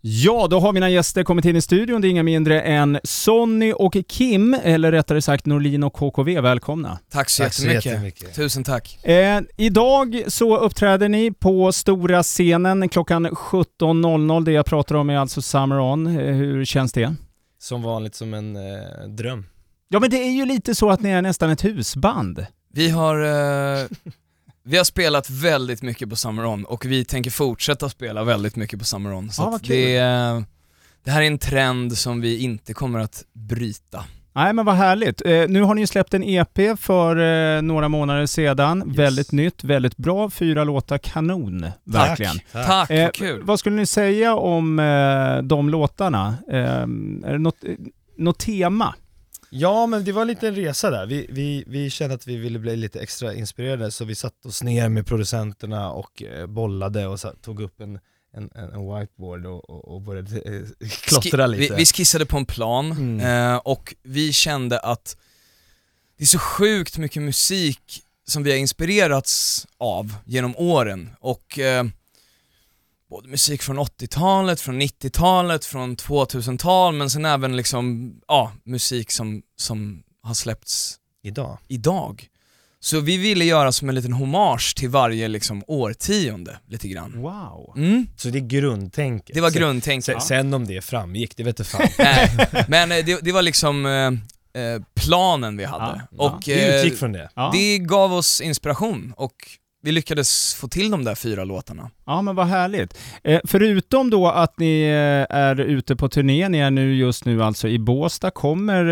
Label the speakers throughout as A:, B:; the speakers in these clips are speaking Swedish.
A: Ja, då har mina gäster kommit in i studion. Det är inga mindre än Sonny och Kim, eller rättare sagt Norlin och KKV. Välkomna.
B: Tack så,
C: Tack så
B: jättemycket.
C: jättemycket.
B: Tusen tack.
A: Eh, idag så uppträder ni på stora scenen klockan 17.00. Det jag pratar om är alltså Summer On. Eh, hur känns det?
C: Som vanligt som en eh, dröm.
A: Ja, men det är ju lite så att ni är nästan ett husband.
B: Vi har, eh, vi har spelat väldigt mycket på Summer On och vi tänker fortsätta spela väldigt mycket på Summer On. Så
A: Ja,
B: att
A: vad kul.
B: det, är- det här är en trend som vi inte kommer att bryta.
A: Nej, men vad härligt. Eh, nu har ni ju släppt en EP för eh, några månader sedan.
C: Yes.
A: Väldigt nytt, väldigt bra. Fyra låtar, kanon. Verkligen.
B: Tack, tack
A: Eh,
B: vad kul.
A: Vad skulle ni säga om eh, de låtarna? Eh, är det något, eh, något tema?
C: Ja men det var en liten resa där, vi, vi, vi kände att vi ville bli lite extra inspirerade så vi satte oss ner med producenterna och eh, bollade och så, tog upp en, en, en en whiteboard och, och, och började eh, klottra
B: Ski-
C: lite.
B: Vi, vi skissade på en plan
C: Mm.
B: eh, och vi kände att det är så sjukt mycket musik som vi har inspirerats av genom åren och eh, både musik från 80-talet, från 90-talet, från 2000-tal men sen även liksom, ja, musik som, som har släppts
C: Idag.
B: idag. Så vi ville göra som en liten hommage till varje liksom årtionde lite grann.
A: Wow.
B: Mm,
C: Så det är grundtänket.
B: det var
C: Sen-
B: grundtänket.
C: Sen, sen om det framgick, det vet fan.
B: Nej, men eh, det, det var liksom eh, eh, planen vi hade.
A: Ja, ja.
B: Och
C: Vi
B: eh,
C: utgick från det.
A: Ja.
B: det gav oss inspiration och vi lyckades få till de där fyra låtarna.
A: ja, men vad härligt. Eh, förutom då att ni eh, är ute på turné, ni är nu just nu alltså i Båstad, kommer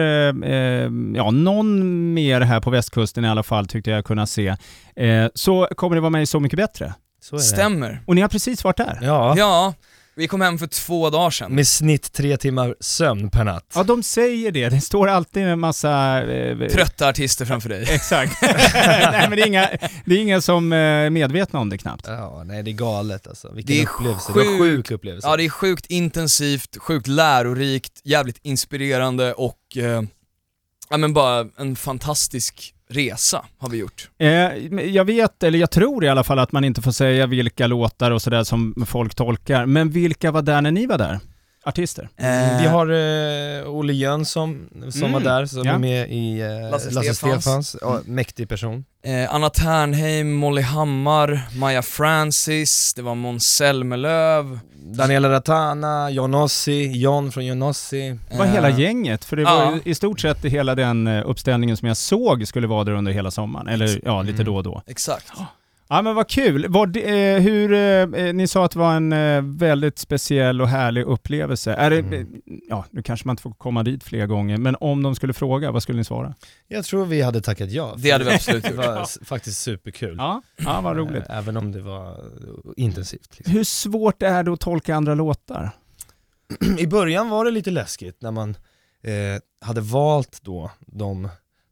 A: eh, eh, ja, någon mer här på västkusten i alla fall tyckte jag kunna se, eh, så kommer det vara med i Så mycket bättre.
C: Så är
B: Stämmer.
A: Och ni har precis varit där.
C: det. Ja.
B: Ja, vi kom hem för två dagar sedan.
C: Med snitt tre timmar sömn per natt.
A: Ja, de säger det. Det står alltid en massa... Eh,
B: Trötta artister framför dig.
A: Exakt. Nej, men det är, inga, det är inga som eh, är medvetna om det knappt.
C: Ja, nej det är galet alltså. Vilken
B: Det är
C: upplevelse. Det var en
B: sjuk-
C: sjuk upplevelse.
B: Ja, det är sjukt intensivt, sjukt lärorikt, jävligt inspirerande och eh, ja men bara en fantastisk resa har vi gjort.
A: Eh, men jag vet, eller jag tror i alla fall att man inte får säga vilka låtar och sådär som folk tolkar, men vilka var där när ni var där? Artister?
B: Eh,
C: Vi har eh, Olle Jönsson som
A: Mm,
C: var där, som
A: ja.
C: är med i eh,
B: Lasse
C: Lasse,
B: Stefans. Mm.
C: Stefans, Ja, mäktig person.
B: Eh, Anna Ternheim, Molly Hammar, Maja Francis, det var Måns Zelmerlöw.
C: Daniela Ratana, Jonossi, John från Jonossi.
A: Det var
B: Eh,
A: hela gänget, för det
B: ja.
A: var ju i stort sett hela den eh, uppställningen som jag såg skulle vara där under hela sommaren, eller ja, lite
C: Mm.
A: då och då.
B: Exakt.
A: Ja men vad kul! Var det, eh, hur, eh, ni sa att det var en eh, väldigt speciell och härlig upplevelse. Är det,
C: Mm.
A: eh, ja, nu kanske man inte får komma dit fler gånger, men om de skulle fråga, vad skulle ni svara?
C: Jag tror vi hade tackat ja.
B: Det hade vi absolut
C: Det
B: gjort.
C: var s- faktiskt superkul.
A: Ja, ja vad roligt.
C: Eh, Även om det var eh, intensivt. Liksom.
A: Hur svårt är det att tolka andra låtar?
C: I början var det lite läskigt när man eh, hade valt då de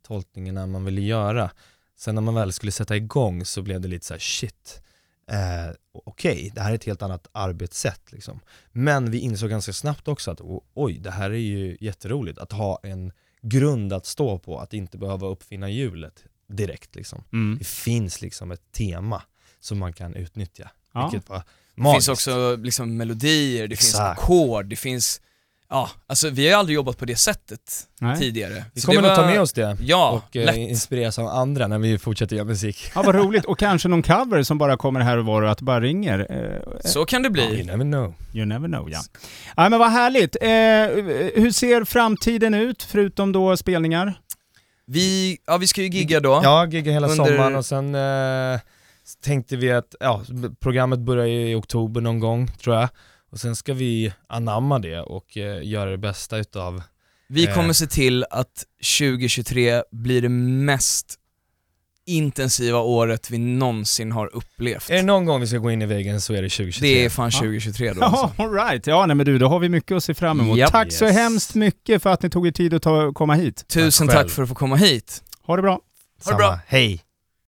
C: tolkningarna man ville göra. Sen när man väl skulle sätta igång så blev det lite så här shit, eh, okej, det här är ett helt annat arbetssätt liksom. Men vi insåg ganska snabbt också att o- oj, det här är ju jätteroligt att ha en grund att stå på, att inte behöva uppfinna hjulet direkt liksom. Det finns liksom ett tema som man kan utnyttja,
A: Ja.
C: vilket var
B: Det finns
C: magiskt.
B: också liksom melodier, det finns
C: Exakt.
B: ackord, det finns, ja, alltså vi har ju aldrig jobbat på det sättet
A: Nej.
B: tidigare.
C: Vi
B: Så
C: kommer
B: det
C: att
B: var-
C: ta med oss det.
B: Ja,
C: och eh,
B: lätt.
C: inspireras av andra när vi fortsätter göra musik.
A: Ja, vad roligt. Och kanske någon cover som bara kommer här och var och att det bara ringer. Eh,
B: Så kan det
C: You
B: bli.
C: never know.
A: You never know, ja. Ja, men vad härligt. Eh, hur ser framtiden ut, förutom då spelningar?
B: Vi, ja vi ska ju gigga då.
C: Ja, gigga hela
B: Under-
C: sommaren och sen eh, tänkte vi att, ja, programmet börjar ju i oktober någon gång tror jag. Och sen ska vi anamma det och eh, göra det bästa utav
B: Vi
C: Eh.
B: kommer se till att 2023 blir det mest intensiva året vi någonsin har upplevt.
C: Är det någon gång vi ska gå in i väggen så är det 2023.
B: Det är fan 2023 då alltså.
A: Ja, all right. Ja, nej, men du, då har vi mycket att se fram emot.
B: Japp.
A: Tack så
C: Yes.
A: hemskt mycket för att ni tog er tid att ta, komma hit.
B: Tusen
C: Tack själv.
B: tack för att få komma hit.
A: Ha det bra.
B: Ha det bra.
C: Hej!